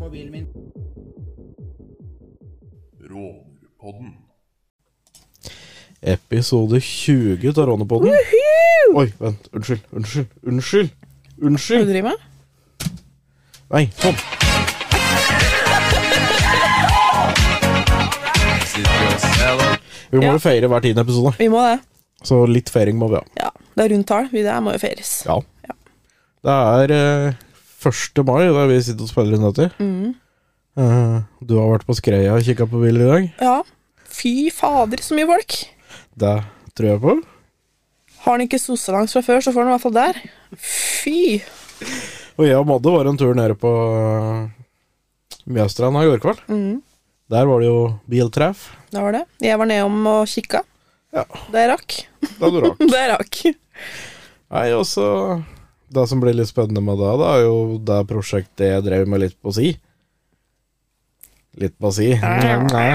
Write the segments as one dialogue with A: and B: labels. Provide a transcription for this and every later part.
A: mobilen min.
B: Rånerpodden.
C: Episode 20 av Rånepodden. Oi, vent. Unnskyld. Unnskyld. Unnskyld.
A: Hva
C: Unnskyld.
A: driver med?
C: Nei, sånn. Vi må
A: Ja.
C: jo feire hver tiende episode,
A: Vi må det.
C: så litt feiring må vi ha.
A: Ja, Det er rundt tall. Vi der må jo feires.
C: Ja. Det er eh, 1. mai der vi sitter og spiller inn dette.
A: Mm.
C: Eh, du har vært på Skreia og kikka på bil i dag.
A: Ja. Fy fader, så mye folk.
C: Det tror jeg på.
A: Har han ikke sosselangs fra før, så får han i hvert fall der. Fy.
C: Og jeg og Madde var en tur nede på eh, Mjøstranda i går kveld.
A: Mm.
C: Der var det jo biltreff.
A: Det var det. Jeg var nedom og kikka.
C: Ja.
A: Det rakk.
C: Det er bra.
A: Det rakk.
C: Nei, også Det som blir litt spennende med det, da, er jo det prosjektet jeg drev med litt på si. Litt på si. Nei.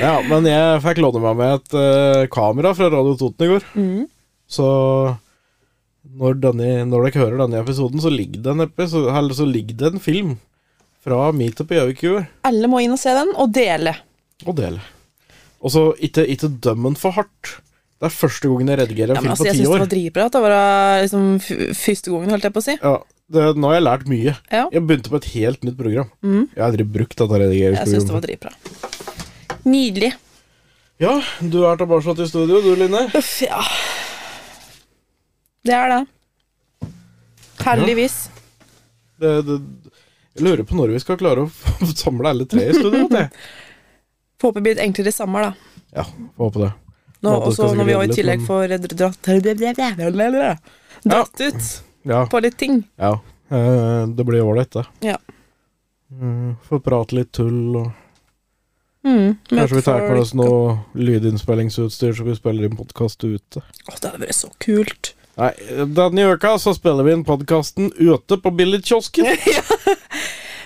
C: Ja, men jeg fikk låne meg med et eh, kamera fra Radio Toten i går.
A: Mm.
C: Så når, denne, når dere hører denne episoden, så ligger det en, episode, eller så ligger det en film fra meetup i Gjøvik i år.
A: Alle må inn og se den, og dele.
C: Og del. Og så ikke, ikke døm den for hardt. Det er første gangen jeg redigerer en
A: Ja,
C: film
A: men altså,
C: på
A: jeg
C: ti
A: syns det
C: år.
A: var dritbra at det var liksom, f- første gangen, holdt jeg på å si.
C: Ja, det, nå har jeg lært mye.
A: Ja. Mm.
C: Jeg begynte på et helt nytt program. Jeg har aldri brukt dette
A: Jeg syns det
C: redigeringsprogrammet.
A: var dritbra. Nydelig.
C: Ja, du er tilbake i studio, du, Line.
A: Uff, ja. Det er det. Heldigvis.
C: Det, det, jeg lurer på når vi skal klare å få samle alle tre i studio. vet jeg.
A: Får Håper det blir et enklere sommer, da.
C: Ja, får håpe det.
A: Nå,
C: Ja, det skal
A: også, når vi
C: sikkert
A: også i
C: gjelde litt,
A: tillegg
C: men-
A: får dr- dratt Dratt ut
C: Ja.
A: på litt ting.
C: ja. Eh, Det blir ålreit, det.
A: Ja.
C: Mm, Få prate litt tull, og
A: Mm, møte
C: kanskje vi tar med
A: folk
C: oss noe lydinnspillingsutstyr så vi spiller inn podkast ute.
A: og- Åh, det hadde vært så kult.
C: Nei, denne uka så spiller vi inn podkasten ute på billigkiosken.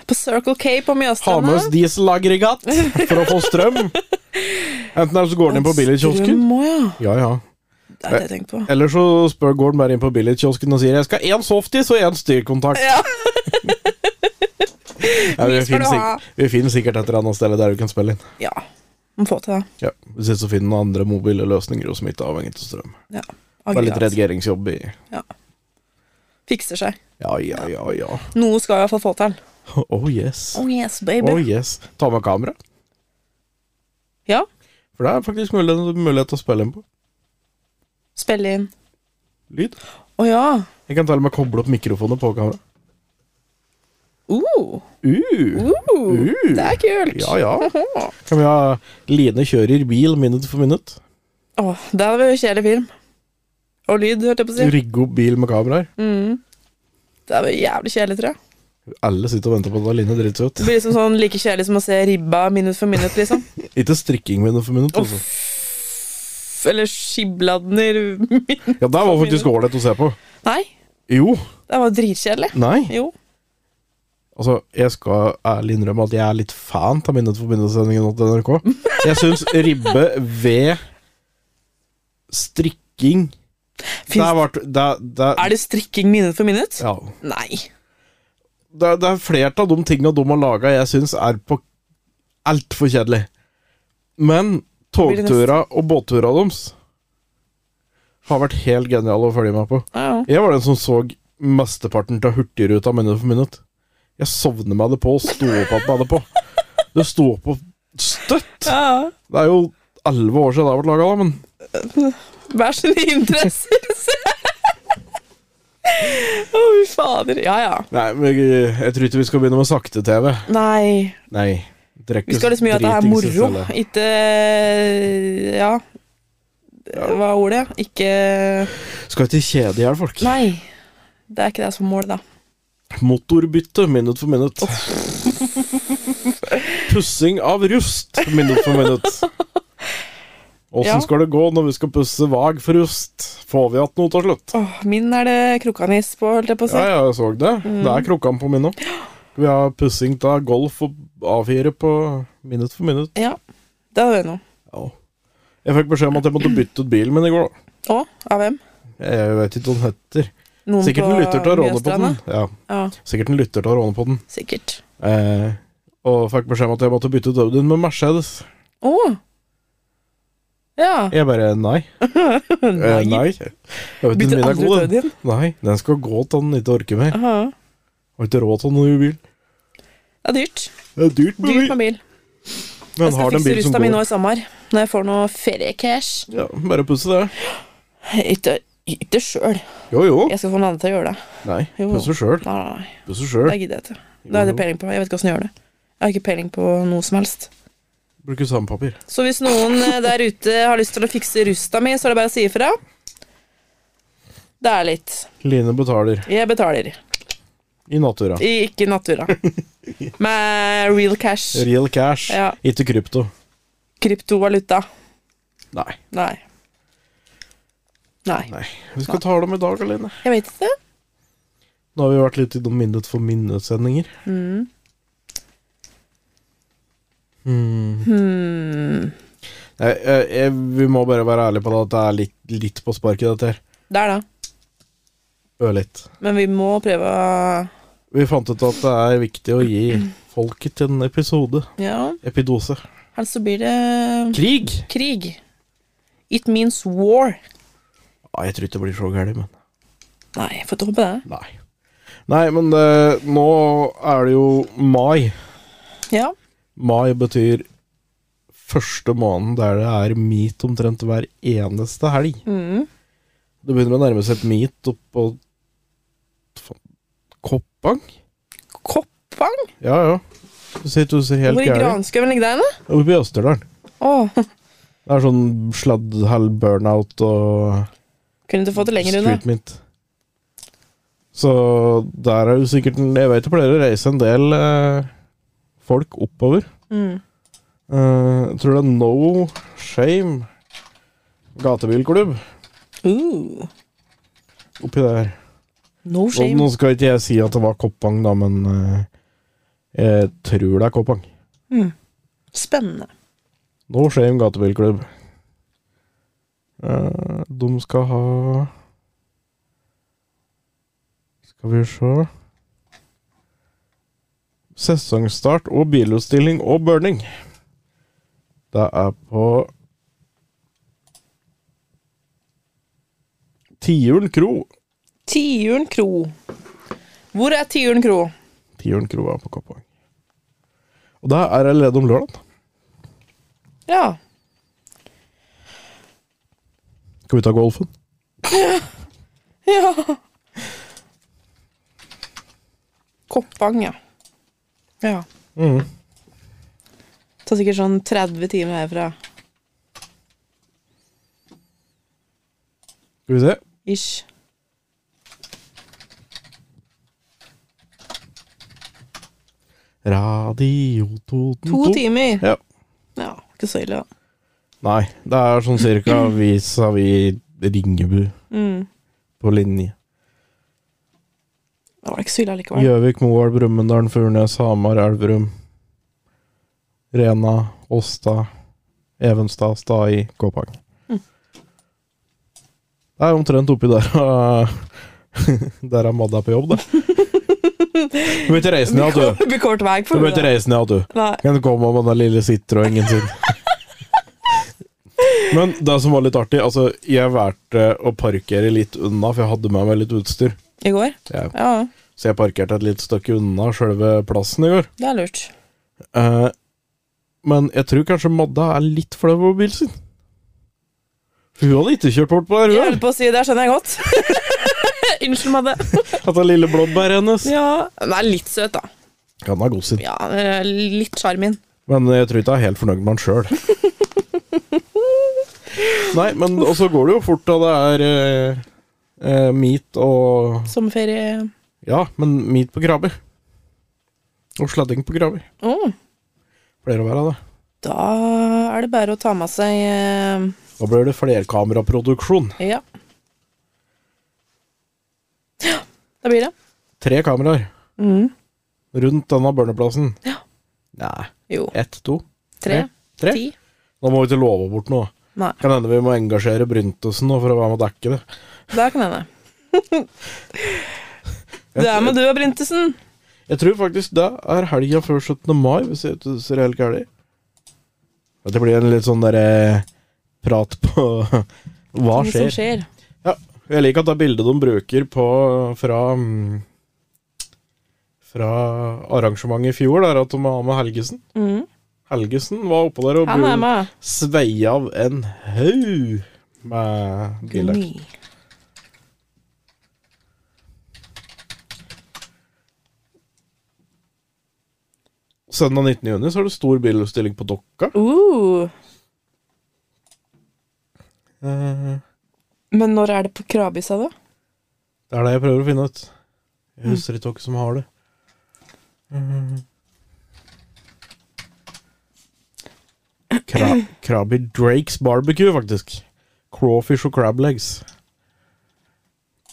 A: På Circle K på
C: Ha med oss
A: Mjøsstranda.
C: dieselaggregat for å få strøm. Enten eller så går den inn på billigkiosken.
A: Strøm også, ja.
C: Ja, ja.
A: Det hadde jeg tenkt på.
C: Eller så spør går den bare inn på billigkiosken og sier 'jeg skal ha én softis og én styrkontakt'.
A: Ja.
C: Ja, vi,
A: Mye skal
C: finner
A: du ha.
C: sikkert, vi finner sikkert et eller annet sted der du kan spille inn.
A: Ja. Må få til det.
C: Ja, Hvis ikke så finner du noen andre mobile løsninger som ikke er avhengig av strøm.
A: Ja.
C: Bare litt
A: Akkurat.
C: redigeringsjobb i
A: Ja. Fikser seg.
C: Ja, ja, ja, ja.
A: Noe skal jeg i hvert fall få til.
C: Oh yes.
A: Oh yes, baby.
C: Oh yes. Ta med kamera.
A: Ja.
C: For det er faktisk mulighet, mulighet til å spille inn på.
A: Spille inn.
C: Lyd.
A: Å ja.
C: Jeg kan til og med koble opp mikrofoner på kamera.
A: Uh,
C: Uh.
A: uh,
C: Uh.
A: Det er kult.
C: Ja, ja.
A: Åh,
C: Kan vi ha Line kjører bil minutt for minutt?
A: Åh, det hadde vært kjedelig film. Og lyd, hørte jeg på å si.
C: Rigge opp bil med kameraer?
A: Det hadde vært jævlig kjedelig, tror jeg.
C: Alle sitter og venter på at Line driter seg
A: Det
C: ut.
A: blir liksom sånn like kjedelig som å se ribba minutt for minutt, liksom.
C: Ikke strikking minutt for minutt. Altså.
A: F- Eller skibladner min-
C: Ja, Det var faktisk ålreit å se på.
A: Nei,
C: Jo.
A: det var dritkjedelig.
C: Nei.
A: Jo.
C: Altså, jeg skal ærlig innrømme at jeg er litt fan av Minutt for minutt-sendingen til NRK. Jeg syns ribbe ved strikking Det
A: Finns,
C: har vært Det, det,
A: er det strikking minutt for minutt?
C: ja.
A: Nei.
C: det, det er flere av de tingene de har laga jeg syns er på altfor kjedelig. Men
A: det neste?
C: togtura og båttura deres har vært helt geniale å følge med på.
A: Ja, ja.
C: Jeg var den som så mesteparten av Hurtigruta minutt for minutt. Jeg sovner meg det på og sto opp igjen med det på. Det sto på støtt!
A: ja.
C: Det er jo elleve år siden det har vært laga, da, men
A: Hver sine interesser. Å, fy fader. Ja, ja.
C: Nei, men jeg, jeg tror ikke vi skal begynne med sakte-TV.
A: Nei.
C: Nei. drekke
A: Vi skal liksom gjøre at det er
C: dritings i
A: moro,
C: stedet.
A: ikke Ja. Hva er ordet? Ikke
C: Skal ikke kjede i hjel folk.
A: Nei. Det er ikke det som mål, da.
C: Motorbytte minutt for minutt. Pussing av rust minutt for minutt. Åssen
A: Ja.
C: skal det gå når vi skal pusse vag for rust? Får vi igjen noe til slutt?
A: Åh, min er det krukkanis på, holdt jeg på å si.
C: Ja, ja, jeg så det.
A: Mm.
C: Det er krukkan på min òg. Vi har pussing av golf og A4 på minutt for minutt.
A: Ja. Det hadde vært noe.
C: Ja. Jeg fikk beskjed om at jeg måtte bytte ut bilen min i går. da.
A: Å, av hvem?
C: Jeg vet ikke hva den heter.
A: Noen
C: Sikkert
A: på
C: en lytter til
A: Mjøsstranda?
C: Rånepodden. Ja,
A: Ja,
C: sikkert en lytter til Rånepodden.
A: sikkert.
C: Eh, og fikk beskjed om at jeg måtte bytte ut Audien med Mercedes.
A: Å! Ja.
C: Jeg bare nei. Eh, nei. Audien min
A: Bytter
C: er
A: aldri ut
C: god, den.
A: Audien.
C: Nei, den skal gå til den ikke orker mer.
A: Aha.
C: Har ikke råd til noen ny bil.
A: Det er dyrt.
C: Det er dyrt med
A: Dyrt
C: bil.
A: med bil. Jeg
C: Men
A: skal
C: har den
A: fikse
C: bil som
A: rusta mi nå
C: går.
A: i sommer, når jeg får noe feriecash.
C: Ja, bare pusse det.
A: Ikke, ikke sjøl.
C: Jo, jo.
A: Jeg skal få noen andre til å gjøre det.
C: Nei,
A: Jo.
C: pusse sjøl.
A: Nei, nei, nei.
C: Pusse
A: Det
C: sjøl.
A: gidder jeg ikke. Det har jeg ikke peiling på. Jeg vet ikke åssen jeg gjør det. Jeg har ikke peiling på noe som helst.
C: Bruker sandpapir.
A: Så hvis noen eh, der ute har lyst til å fikse rusta mi, så er det bare å si ifra. Det er litt.
C: Line betaler.
A: Jeg betaler.
C: I natura.
A: I, ikke natura. Med real cash.
C: Real cash.
A: Ja.
C: Ikke krypto.
A: Kryptovaluta.
C: Nei.
A: Nei. Nei.
C: Nei. Vi skal tale om i dag, Line.
A: Jeg vet ikke.
C: Nå har vi vært litt i noen minnet for minnesendinger. Hmm. Jeg, jeg, jeg, eh, vi må bare være ærlige på det at det er litt, litt på sparket, dette her.
A: Det er det.
C: Ørlitt.
A: Men vi må prøve å
C: Vi fant ut at det er viktig å gi folket en episode.
A: Ja,
C: Epidose.
A: ellers så blir det
C: Krig!
A: krig. It means war.
C: Ja, jeg tror ikke det blir så gærent, men
A: Nei, jeg får ikke håpe det.
C: Nei. Nei, men eh, nå er det jo mai.
A: Ja.
C: Mai betyr første måneden der det er meet omtrent hver eneste helg.
A: Mm.
C: Det begynner å nærme seg et meet oppå faen, Koppang?
A: Koppang?
C: Ja, ja. Du ser, du ser helt
A: Hvor i
C: gæren ut.
A: granskauen ligger den? da?
C: Oppe i Østerdalen.
A: Åh,
C: Det er sånn sladd, hell, burnout og
A: kunne du fått det lenger unna?
C: street meet. Så der er jo sikkert en- Jeg vet det pleier å reise en del eh, folk oppover.
A: Mm.
C: Eh, jeg tror det er No Shame gatebilklubb
A: Uh,
C: oppi der. Nå,
A: no
C: nå
A: shame.
C: skal ikke jeg si at det var Koppang, da, men eh, jeg tror det er Koppang.
A: Spennende.
C: No Shame gatebilklubb. Eh, de skal ha Skal vi se Sesongstart og bilutstilling og burning. Det er på Tiuren kro.
A: Tiuren kro. Hvor er Tiuren kro?
C: Tiuren kro er på Koppang. Og det er allerede om lørdag.
A: Ja.
C: Skal vi ta golfen?
A: ja. Koppang, ja. Ja.
C: Mm.
A: Tar sikkert sånn 30 timer herfra.
C: Skal vi se.
A: Ish.
C: Radio Toten
A: To timer.
C: Ja.
A: Ja, ikke så ille, da.
C: Nei, det er sånn cirka vis-à-vis Ringebu
A: Mm.
C: på linje.
A: Det var ikke så ille allikevel.
C: Gjøvik, Moelv, Brumunddal, Furnes, Hamar, Elverum. Rena, Åsta, Evenstad, Stai, Kåpang.
A: Mm.
C: Det er omtrent oppi der uh, Der er Madda på jobb, da. Du må ikke reise ned, du.
A: Det blir kort vei
C: Du
A: for
C: må ikke reise ned, du.
A: Nei.
C: Kan du komme med den lille sittrøyngen sin. Men det som var litt artig, altså, jeg valgte å parkere litt unna, for jeg hadde med meg litt utstyr.
A: I går?
C: Jeg,
A: Ja,
C: så jeg parkerte et lite stykke unna sjølve plassen i går.
A: det er lurt.
C: Eh, men jeg tror kanskje Madda er litt flau over bilen sin. For hun hadde ikke kjørt bort på der,
A: Jeg
C: hun.
A: holdt på å si det, skjønner jeg godt. Unnskyld, Madde.
C: At det lille blåbæret hennes.
A: Ja. Den er litt søt, da.
C: Han er god sin.
A: Ja, eh, Litt sjarm inn.
C: Men jeg tror ikke jeg er helt fornøyd med han sjøl. Nei, men og så går det jo fort da det er eh, eh, meat og
A: Sommerferie
C: Ja, men meat på krabber. Og sladding på krabber.
A: Å,
C: Flere å være, det.
A: da er det bare å ta med seg eh,
C: Da blir det flerkameraproduksjon.
A: Ja. Ja, da blir det.
C: Tre kameraer
A: Mhm.
C: rundt denne børneplassen.
A: Ja.
C: Nei,
A: Jo.
C: ett, to,
A: Tre.
C: tre.
A: Ti.
C: Da må vi ikke love bort noe.
A: Nei.
C: Kan hende vi må engasjere Bryntesen nå for å være med og dekke det.
A: Det kan hende. Du er med du, Brintesen.
C: Jeg tror faktisk det er helga før 17. mai, hvis jeg ikke ser helt galt. At det blir en litt sånn derre prat på Hva
A: Ting som
C: skjer?
A: skjer.
C: Jeg liker at det er bildet de bruker på fra mm, Fra arrangementet i fjor, der at de har med Helgesen.
A: Mm.
C: Helgesen var oppå der og
A: Han er
C: bu-
A: med.
C: svei av en haug med biler. Søndag 19. juni så er det stor bilutstilling på Dokka.
A: Uh,
C: Eh,
A: men når er det på Krabi, sa du?
C: Det er det jeg prøver å finne ut. Jeg husker ikke hvem som har det. Mhm. Kra Krabby Drakes barbecue, faktisk. Crawfish og crab legs.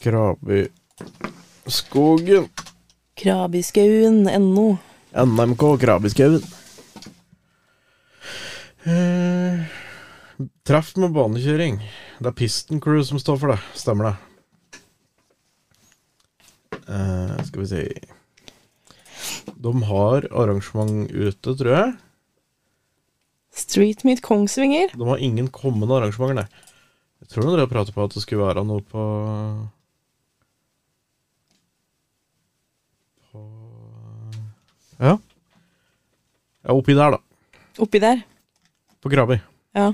C: Krabby Skogen.
A: Krabiskauen.no.
C: NMK Krabbeskauen. Eh, treff med banekjøring. Det er Piston Crew som står for det. Stemmer det. Eh, skal vi si De har arrangement ute, tror jeg.
A: Street Meet Kongsvinger.
C: De har ingen kommende arrangementer, nei. Jeg tror dere prater på at det skulle være noe på På Ja. Ja, oppi der, da.
A: Oppi der.
C: På Krabi.
A: Ja.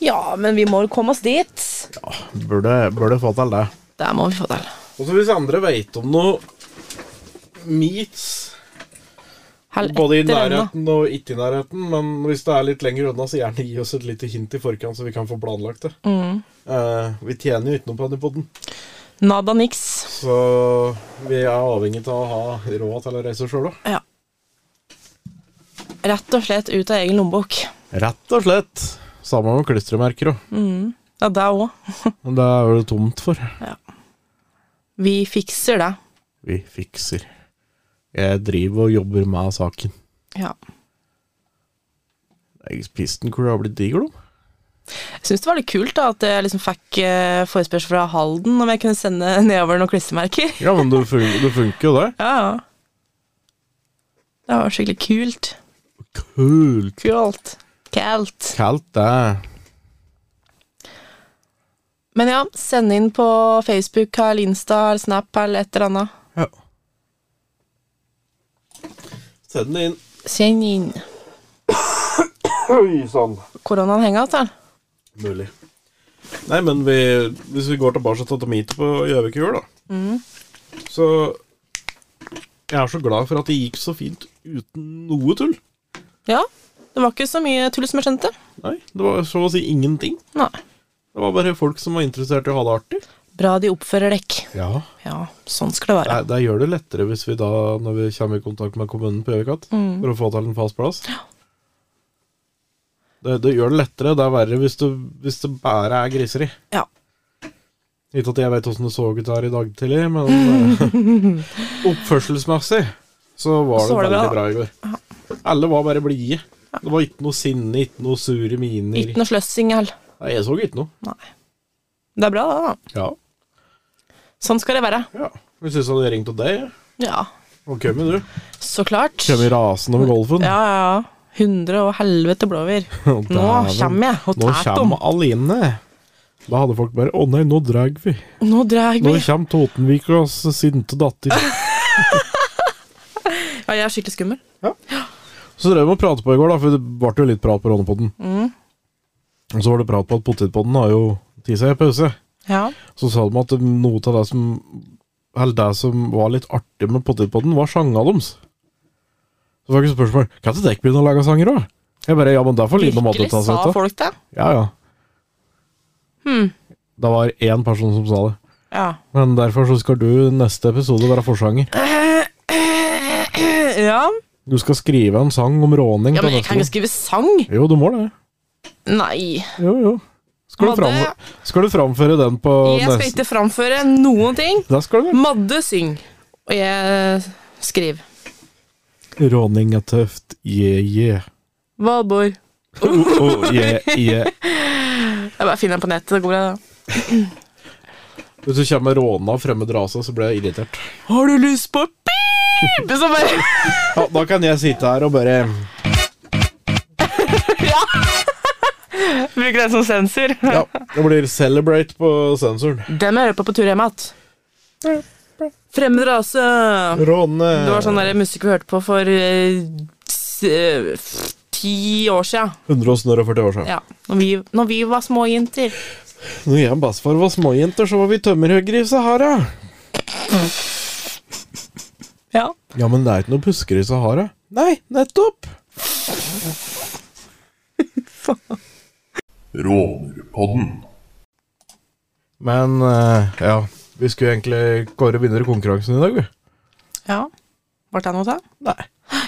A: Ja, men vi må jo komme oss dit.
C: Burde, burde få til det.
A: Der må vi få til.
C: Og så hvis andre veit om noe meats
A: Hell
C: Både i
A: etter den, da.
C: nærheten og ikke i nærheten, men hvis det er litt lenger unna, så gjerne gi oss et lite hint i forkant, så vi kan få planlagt det.
A: Mm.
C: Eh, vi tjener jo ikke noe på den podden,
A: Nada niks.
C: så vi er avhengig av å ha råd til å reise sjøl òg.
A: Ja. Rett og slett ut av egen lommebok.
C: Rett og slett. Samme med klistremerker òg.
A: Mm. Ja, det òg.
C: Men det er jo det tomt for.
A: Vi fikser det.
C: Vi fikser. Jeg driver og jobber med saken.
A: Ja.
C: Pisten Crew har blitt diger, da.
A: Jeg syns det var litt kult da, at jeg liksom fikk eh, forespørsel fra Halden om jeg kunne sende nedover noen klistremerker.
C: Ja, men det fun- det funker jo, det.
A: Ja, ja. Det var skikkelig kult.
C: Kult.
A: Kult. Kalt.
C: Kaldt, det.
A: Men ja, send inn på Facebook eller Insta eller Snap eller et eller annet.
C: Ja. Send det inn.
A: Send inn.
C: Oi sann.
A: Koronaen henger altså. igjen, da.
C: Mulig. Nei, men vi, hvis vi går tilbake til Tomito på Gjøvik i jul, da Så Jeg er så glad for at det gikk så fint uten noe tull.
A: Ja. Det var ikke så mye tull som jeg skjønte.
C: Nei, det var så å si ingenting.
A: Nei.
C: Det var bare folk som var interessert i å ha det artig.
A: Bra de oppfører dekk.
C: Ja.
A: Ja, sånn skal det være.
C: Det, det gjør det lettere hvis vi da, når vi kommer i kontakt med kommunen på Gjøvik igjen,
A: Mm.
C: for å få til en fast plass. Det, det gjør det lettere. Det er verre hvis det, hvis det bare er griseri.
A: Ja.
C: Ikke at jeg vet åssen det så ut her i dag tidlig, men eh, oppførselsmessig så var det,
A: Så var det
C: veldig
A: bra.
C: bra i går. Alle var bare blide. Det var ikke noe sinne, ikke noe sure miner.
A: Ikke noe sløssing heller.
C: Nei, jeg så ikke noe.
A: Nei. Det er bra, det, da.
C: Ja.
A: Sånn skal det være.
C: ja. Hvis jeg hadde ringt til deg,
A: Ja,
C: og kom jo du.
A: så klart.
C: Kom i rasende over golfen.
A: Ja, ja, ja. Hundre og helvete blåver.
C: Og
A: Nå
C: dæven,
A: kommer jeg og
C: Nå
A: tar dem.
C: kommer Aline. Da hadde folk bare Å nei, nå drar vi.
A: Nå drar jeg
C: Nå
A: meg.
C: kommer Totenvikas sinte datter.
A: Ja, jeg er skikkelig skummel.
C: Så drev vi og pratet på i går, da, for det ble jo litt prat på Rånepodden.
A: Mm.
C: Og så var det prat på at Potetpodden har jo tatt seg en pause.
A: Ja.
C: Så sa de at noe av det som Eller det som var litt artig med Potetpodden, var sangene deres. Så var det ikke spørsmål Kan ikke dere begynne å lage sanger òg? Jeg bare Ja, men det er for liten måte å
A: Virkelig
C: ta
A: sa
C: seg til.
A: folk det.
C: Ja, ja.
A: Hmm.
C: Det var én person som sa det.
A: Ja.
C: Men derfor så skal du neste episode være forsanger.
A: ja.
C: Du skal skrive en sang om råning.
A: Ja,
C: til
A: men jeg
C: neste
A: kan
C: gang.
A: ikke skrive sang.
C: Jo, du må det.
A: Nei.
C: Jo, jo. Skal
A: Madde.
C: du, framføre, skal du framføre den på
A: Jeg skal
C: neste
A: ikke framføre noen ting.
C: Da skal du
A: Madde syng, og jeg skriver.
C: Råning er tøft, yeah, yeah.
A: Valborg.
C: Oh, oh, yeah, yeah.
A: Jeg bare finner den på nettet. Det går bra, det.
C: Hvis du kommer med råna av fremmed rase, så blir jeg irritert.
A: Har du lyst på pip? Så sånn bare
C: Ja, da kan jeg sitte her og bare
A: bruker den som sensor.
C: Ja, det blir celebrate på sensoren.
A: Den må jeg høre på på tur hjem igjen. Fremmed rase.
C: Råne
A: Det var sånn der musikk vi hørte på for eh, s- eh, f- ti år siden.
C: 140 år siden.
A: Ja. Når vi, når vi var små jenter.
C: Når jeg og bestefar var småjenter, så var vi tømmerhoggere i Sahara.
A: Ja.
C: Ja, men det er ikke noe busker i Sahara. Nei, nettopp!
B: Rånerpodden.
C: Men eh, ja, vi skulle egentlig kåre vinnerkonkurransen i dag, vi.
A: ja. Ble det noe av?
C: Nei.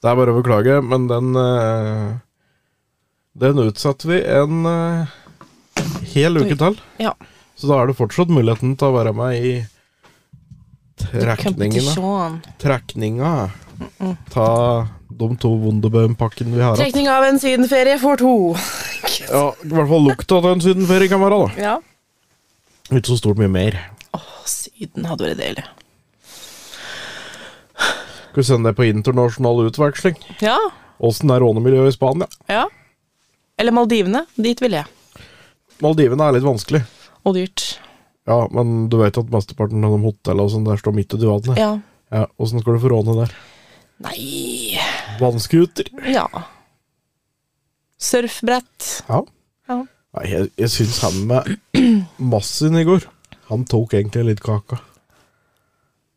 C: Det er bare å beklage, men den eh, Den utsatte vi en eh, hel uke til.
A: Ja.
C: Så da er det fortsatt muligheten til å være med i trekningen.
A: Competition.
C: Trekninga. Ta de to Wunderbøm-pakkene vi har hatt.
A: Trekning av en sydenferie for to.
C: Ja, I hvert fall lukta av en sydenferie kan være, da.
A: Ja.
C: Ikke så stort mye mer.
A: Syden hadde vært deilig.
C: Skal vi sende deg på internasjonal utveksling?
A: Ja.
C: Åssen er rånemiljøet i Spania?
A: ja. Eller Maldivene. Dit vil jeg.
C: Maldivene er litt vanskelig.
A: Og dyrt.
C: Ja, men du vet at mesteparten av de hotellene og sånn der står midt ute i vannet.
A: Ja.
C: Ja, Åssen skal du få råne der?
A: Nei
C: Vannskuter?
A: Ja. Surfbrett.
C: Ja.
A: Ja.
C: Nei, jeg, jeg syns han med Massin i går Han tok egentlig litt kaka.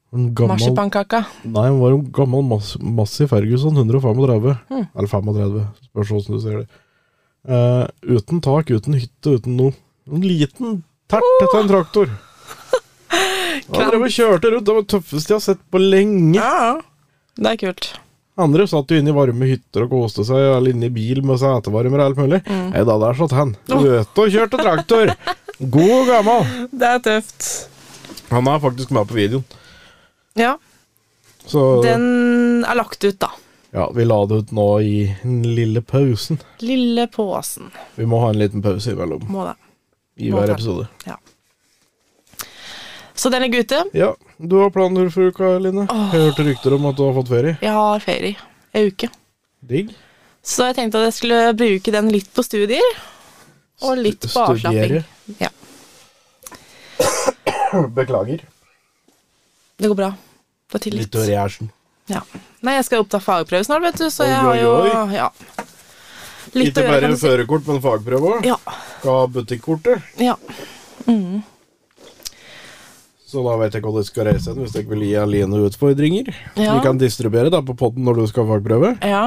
C: En gammel,
A: Marsipankaka.
C: nei, han var jo en gammel Mass, Massi Ferguson, 135. Eller 35, spørs åssen du ser det. Eh, uten tak, uten hytte, uten noe. En liten tert etter en traktor. Han drev og kjørte rundt. Det var det tøffeste jeg har sett på lenge.
A: Ja. Det er kult.
C: Andre satt jo inne i varme hytter og koste seg, eller inne i bil med setevarmer og alt mulig. Nei, da der satt han. Ute og kjørte traktor. God og gammel.
A: Det er tøft.
C: Han er faktisk med på videoen.
A: Ja.
C: Så
A: Den er lagt ut, da.
C: ja, vi la det ut nå i den lille pausen.
A: Lille påsen.
C: Vi må ha en liten pause imellom
A: Må det.
C: i
A: Må
C: hver
A: ta.
C: episode.
A: Ja. Så den er ute.
C: Ja, du har planer for uka, Line. Jeg hørte rykter om at du har fått ferie.
A: Jeg har ferie ei uke.
C: Digg.
A: Så jeg tenkte at jeg skulle bruke den litt på studier. Og litt på
C: Stu-
A: avslapping.
C: studiere.
A: Ja,
C: Beklager.
A: det går bra. Det var tillit.
C: Litt tørr i hersen.
A: Ja. Nei, jeg skal opp ta fagprøve snart, vet du, så
C: Oi,
A: jeg
C: oi,
A: har jo
C: oi.
A: ja. Litt
C: Ikke
A: å gjøre,
C: bare
A: kan du si.
C: førerkort, men fagprøve òg.
A: Ja.
C: Skal ha butikkortet.
A: ja.
C: Så da vet jeg hva du skal reise hen hvis du ikke vil gi Aline utfordringer.
A: Ja.
C: Vi kan distribuere da på podden når du skal ha fagprøve.
A: ja.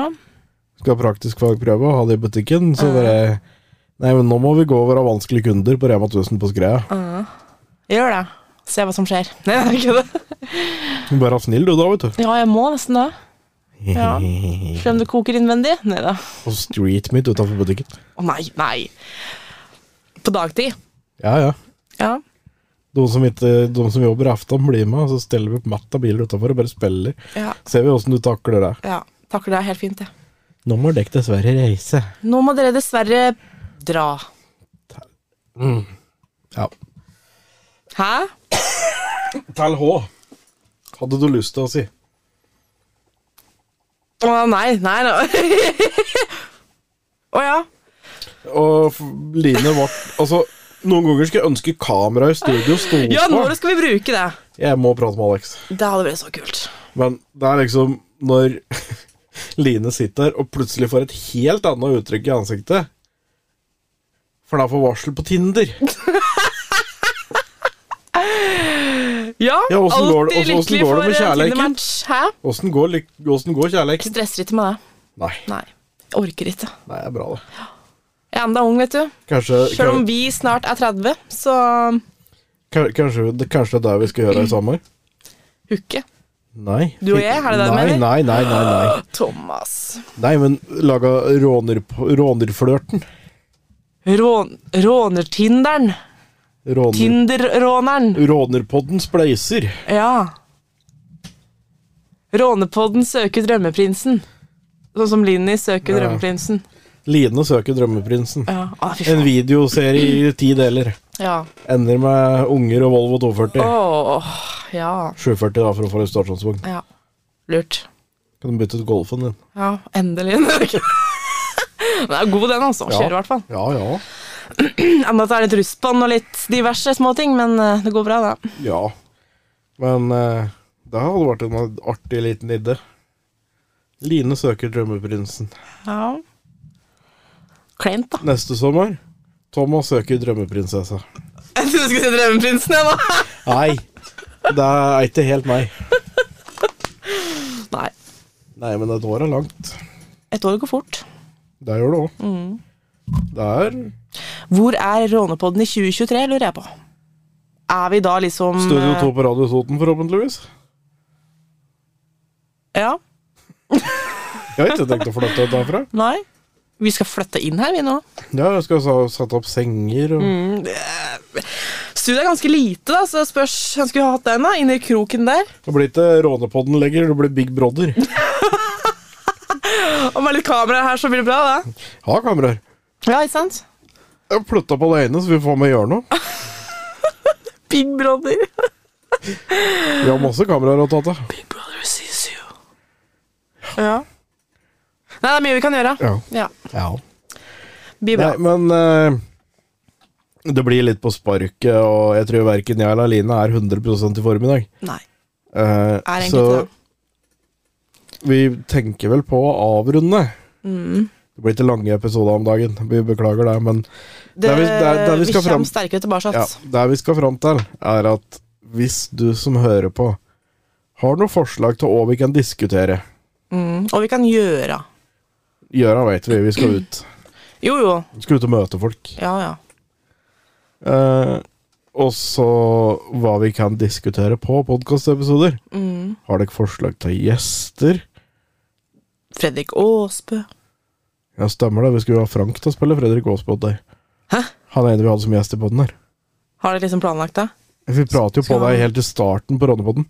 C: Skal ha praktisk fagprøve og ha det i butikken. Så bare Nei, men nå må vi gå over av vanskelige kunder på Rema 1000 på Skreia.
A: Gjør det. Se hva som skjer. Nei, det er ikke det.
C: Bare vær snill du, da, vet du.
A: Ja, jeg må nesten det. Ja. Selv om det koker innvendig. Nei da. Å
C: Og street meet utenfor butikken.
A: nei, nei. På dagtid.
C: Ja, ja.
A: Ja.
C: De som, ikke, de som jobber i aften, blir med, og så steller vi opp matt av biler utenfor og bare spiller.
A: Ja.
C: Ser vi åssen du takler det.
A: ja. Takler det helt fint, jeg.
C: Nå må dere dessverre reise.
A: Nå må dere dessverre dra.
C: Ja.
A: Hæ?
C: Tall H, hadde du lyst til å si.
A: Å nei, nei, nei. Å ja.
C: Og f- Line var Altså, noen ganger skulle jeg ønske kameraet i studio sto
A: Ja,
C: på.
A: når skal vi bruke det?
C: Jeg må prate med Alex.
A: Det hadde vært så kult.
C: Men det er liksom når Line sitter og plutselig får et helt annet uttrykk i ansiktet For da får varsel på Tinder.
A: Ja,
C: Ja, åssen går det-
A: alltid
C: åssen- åssen
A: lykkelig
C: går det
A: for
C: med
A: eh,
C: kjærleiken?
A: Tinder-match. Hæ?
C: Åssen går, lik- åssen går kjærleiken?
A: Stresser ikke med det.
C: Nei,
A: Nei. Jeg orker ikke.
C: nei, det er bra, det.
A: Jeg er enda ung, vet du.
C: Kanskje,
A: Selv om
C: kan-
A: vi snart er 30, så um,
C: kan- kanskje, det- kanskje det er det vi skal gjøre i sommer?
A: hooke.
C: Nei.
A: Du og jeg, er det det du
C: nei,
A: mener?
C: nei, nei, nei, nei.
A: Thomas.
C: Nei, men laga råner, rånerflørten.
A: Rån, rånertinderen.
C: Råner,
A: Tinder-råneren.
C: rånerpodden spleiser.
A: Ja. Rånepodden søker drømmeprinsen. Sånn som Linni søker
C: Ja.
A: drømmeprinsen.
C: Line søker drømmeprinsen.
A: Ja, ah, fy
C: En
A: faen.
C: videoserie i ti deler.
A: Ja.
C: Ender med unger og Volvo 240.
A: Åh, ja.
C: 740 da, for å få restaurasjonsvogn.
A: ja. Lurt.
C: Kan du bytte ut Golfen din?
A: Ja, endelig. Den er god, den, altså. Kjører i hvert fall.
C: Ja, ja.
A: Enda at det er litt russbånd og litt diverse småting, men eh, det går bra, det.
C: Ja. Men eh, det hadde vært en artig liten idé. Line søker drømmeprinsen.
A: Ja. Kleint, da.
C: Neste sommer Thomas søker drømmeprinsessa.
A: Jeg trodde du skulle si Drømmeprinsen, jeg, da.
C: Nei, det er ikke helt meg.
A: Nei.
C: Nei, men et år er langt.
A: Et år går fort.
C: Det gjør det òg. Det er
A: Hvor er Rånepodden i 2023, lurer jeg på. Er vi da liksom
C: Studio
A: eh,
C: 2 på Radio Toten, forhåpentligvis.
A: eh, Ja.
C: Jeg har ikke tenkt å flytte ut derfra.
A: Nei. Vi skal flytte inn her, vi nå.
C: Ja, jeg skal sa- sette opp senger og
A: Studiet er ganske lite, da, så det spørs hvem skulle ha hatt den da, inni kroken der.
C: Det blir ikke Rånepodden lenger, det blir Big Brother.
A: Og med litt kamera her, så blir det bra, det.
C: Ha kameraer.
A: Ja, ikke sant?
C: Jeg flytta på alene, så vi får med å gjøre noe.
A: Big Brother.
C: Vi har masse kameraer å ta til.
A: Big Brother sees you. Ja. Nei, det er mye vi kan gjøre.
C: Ja.
A: Ja.
C: ja.
A: Blir bra.
C: Nei, men eh, det blir litt på sparket, og jeg tror verken jeg eller Line er 100 i form i dag.
A: Nei.
C: Eh,
A: Er egentlig
C: så
A: ikke det.
C: vi tenker vel på å avrunde. Det blir ikke lange episoder om dagen, vi beklager det, men
A: Det,
C: der vi- der- der vi skal fram-
A: kommer sterkere tilbake. altså.
C: ja,
A: ass.
C: det vi skal fram til, er at hvis du som hører på, har noen forslag til hva vi kan diskutere,
A: Mm. Og vi kan gjøre.
C: gjøra veit vi, vi skal ut.
A: Jo, jo.
C: Vi skal ut og møte folk.
A: Ja, ja.
C: Eh, og så hva vi kan diskutere på podkastepisoder.
A: Mm.
C: Har dere forslag til gjester?
A: Fredrik Aasbø.
C: Ja, stemmer det. Vi skulle jo ha Frank til å spille Fredrik Aasbod der.
A: Hæ?
C: Han er en vi hadde som gjest i podden her.
A: Har dere liksom planlagt det?
C: Vi prater jo på
A: Skal han-
C: deg helt i starten på Rånepodden.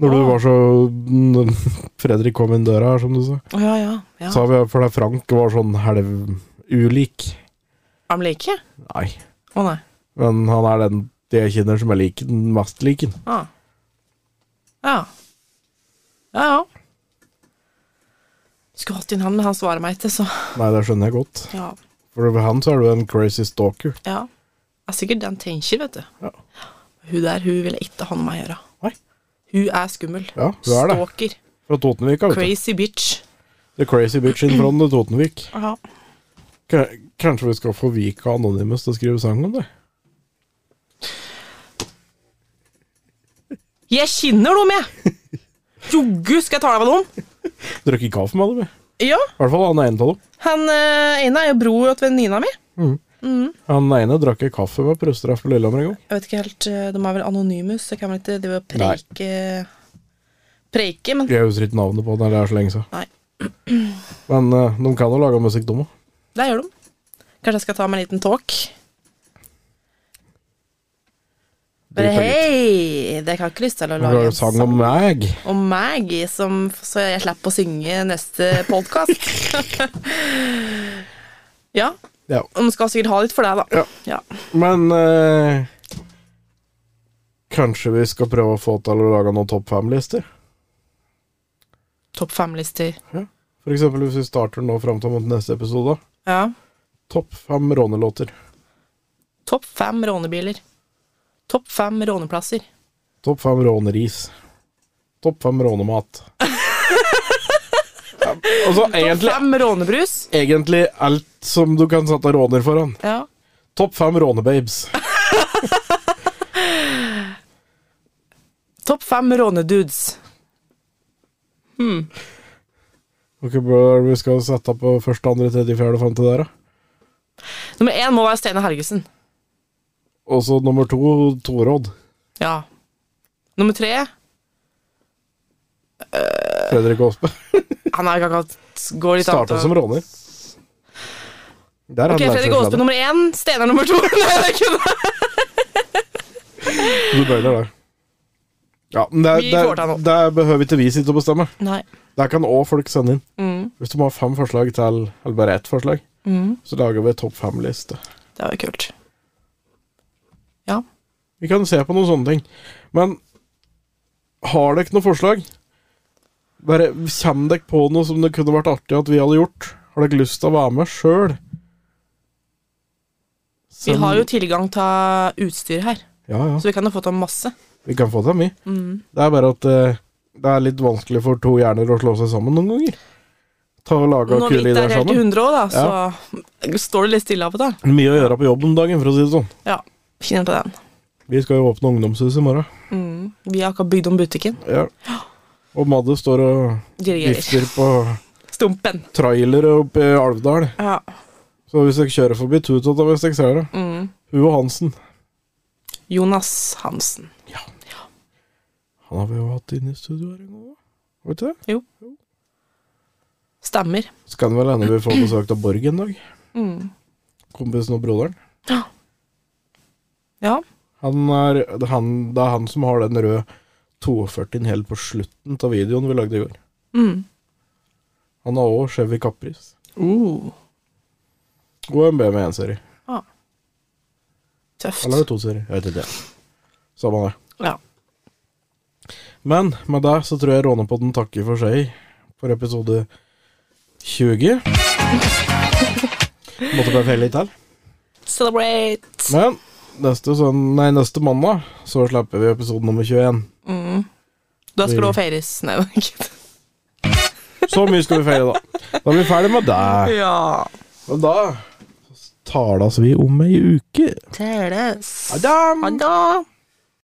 C: Når du
A: Ah.
C: var så når Fredrik kom inn døra her, som du sa.
A: Å, ja, ja. ja.
C: Sa vi for deg Frank var sånn halv ulik.
A: Er de like?
C: Nei.
A: Å nei.
C: Men han er den de jeg kjenner som er lik den mest liken.
A: Ah. Ja. Ja, ja. Skulle hatt inn han, men han svarer meg ikke, så
C: Nei, det skjønner jeg godt.
A: ja.
C: For over han så er du en crazy stalker.
A: ja. Det er sikkert det han tenker, vet du.
C: Ja.
A: Hun der, hun vil ikke ha noe med meg å gjøre.
C: Nei.
A: Hun er skummel.
C: Ja, hun er det.
A: Stalker.
C: Fra Totenvika, vet du.
A: Crazy bitch.
C: The crazy bitch in front of Totenvik.
A: Ja.
C: K kanskje vi skal få Vika Anonymous til å skrive sang om det?
A: Jeg kjenner noe med! Joggu, skal jeg ta deg av noen?
C: Drikke kaffe med dem? vi.
A: Ja.
C: I hvert fall han ene av dem.
A: Han eh, ene er jo bror til venninna mi.
C: Han ene drakk jeg kaffe med prøsteraff på Lillehammer en gang.
A: Jeg vet ikke helt, eh, De er vel anonymus, så jeg kan vel ikke drive og preike Preike, men
C: Jeg husker ikke navnet på den, det er så lenge siden.
A: Nei.
C: Men eh, de kan jo lage musikk, de òg.
A: det gjør de. Kanskje jeg skal ta meg en liten talk. Bare hei! Dere har ikke lyst til å lage
C: Lager
A: en
C: sang om meg.
A: om meg, som, så jeg slipper å synge neste podkast. ja.
C: Ja.
A: Og de skal sikkert ha litt for deg, da. Ja.
C: Men eh, Kanskje vi skal prøve å få til å lage noen topp fem-lister?
A: Topp fem-lister.
C: For eksempel hvis vi starter nå fram til mot neste episode.
A: Ja.
C: Topp fem rånelåter.
A: Topp fem rånebiler. Topp fem råneplasser.
C: Topp fem råneris. Topp fem rånemat. Ja, altså, egentlig,
A: Topp fem rånebrus.
C: egentlig alt som du kan sette råner foran.
A: Ja.
C: Topp fem rånebabes.
A: Topp fem rånedudes.
C: Ok, bro, vi skal sette på første, andre, tredje, fjerde, femte der, da.
A: Nummer én må være Steinar Helgesen.
C: Og så nummer to, Torodd.
A: Ja. Nummer tre
C: Fredrik Aasbø.
A: Eh, Han er ikke akkurat går litt
C: Starta som råner. Der
A: Ok,
C: hadde
A: Fredrik
C: jeg
A: Aasbø
C: skjedd.
A: nummer én, Steinar nummer to. Nei, det kunne
C: Du bøyler det. Ja, men det,
A: Vi
C: det,
A: får ta noe.
C: det behøver ikke vi sitte og bestemme.
A: Nei.
C: Der kan òg folk sende inn.
A: Mm.
C: Hvis du må ha fem forslag til, eller bare ett forslag,
A: Mm.
C: så lager vi topp fem-liste.
A: Det var jo kult. Ja.
C: Vi kan se på noen sånne ting. Men har dere noe forslag? Bare Kommer dere på noe som det kunne vært artig at vi hadde gjort? Har dere lyst til å være med sjøl?
A: Vi har jo tilgang til utstyr her,
C: Ja, ja.
A: så vi kan ha fått av masse.
C: Vi kan få dem, vi.
A: Mm.
C: Det er bare at eh, det er litt vanskelig for to hjerner å slå seg sammen noen ganger. Ta og lage
A: Når
C: og
A: vi
C: kule
A: ikke
C: ideer
A: er helt i
C: sammen.
A: 100 år, da, så står det litt stille av og til.
C: Mye å gjøre på jobb om dagen, for å si det sånn.
A: Ja, kjenner på den.
C: Vi skal jo åpne ungdomshuset i morgen.
A: Mm. Vi har akkurat bygd om butikken.
C: Ja. Og Madde står og
A: Dirigerer.
C: vifter på
A: Stumpen.
C: trailere oppe i Alvdal.
A: Ja.
C: Så hvis dere kjører forbi Tutata, hvis dere ser det
A: Mm.
C: Hun og Hansen.
A: Jonas Hansen.
C: Han har vi jo hatt inne i studio her en gang òg. Vet du det?
A: Stemmer.
C: Så kan det vel hende vi får besøk av Borg en dag.
A: Mm.
C: Kompisen og broderen.
A: Ja.
C: Han er, han, det er han som har den røde 42-en helt på slutten av videoen vi lagde i går.
A: Mm.
C: Han har òg Chevy Capris.
A: Uh,
C: Og en BMW 1-serie.
A: tøft.
C: Eller 2-serie. Jeg vet ikke. Samme det.
A: Ja.
C: Men med det så tror jeg Rånepodden takker for seg for episode 20. Måtte bare feile litt her.
A: Celebrate.
C: Men neste, søn- nei, neste mandag så slipper vi episode nummer 21.
A: Mm. Da skal det også feires. Nei, det er ikke det.
C: Så mye skal vi feire, da. Da er vi ferdig med det.
A: Ja.
C: Og da tales vi om ei uke.
A: Teles.
C: Ha det!
A: Ha det.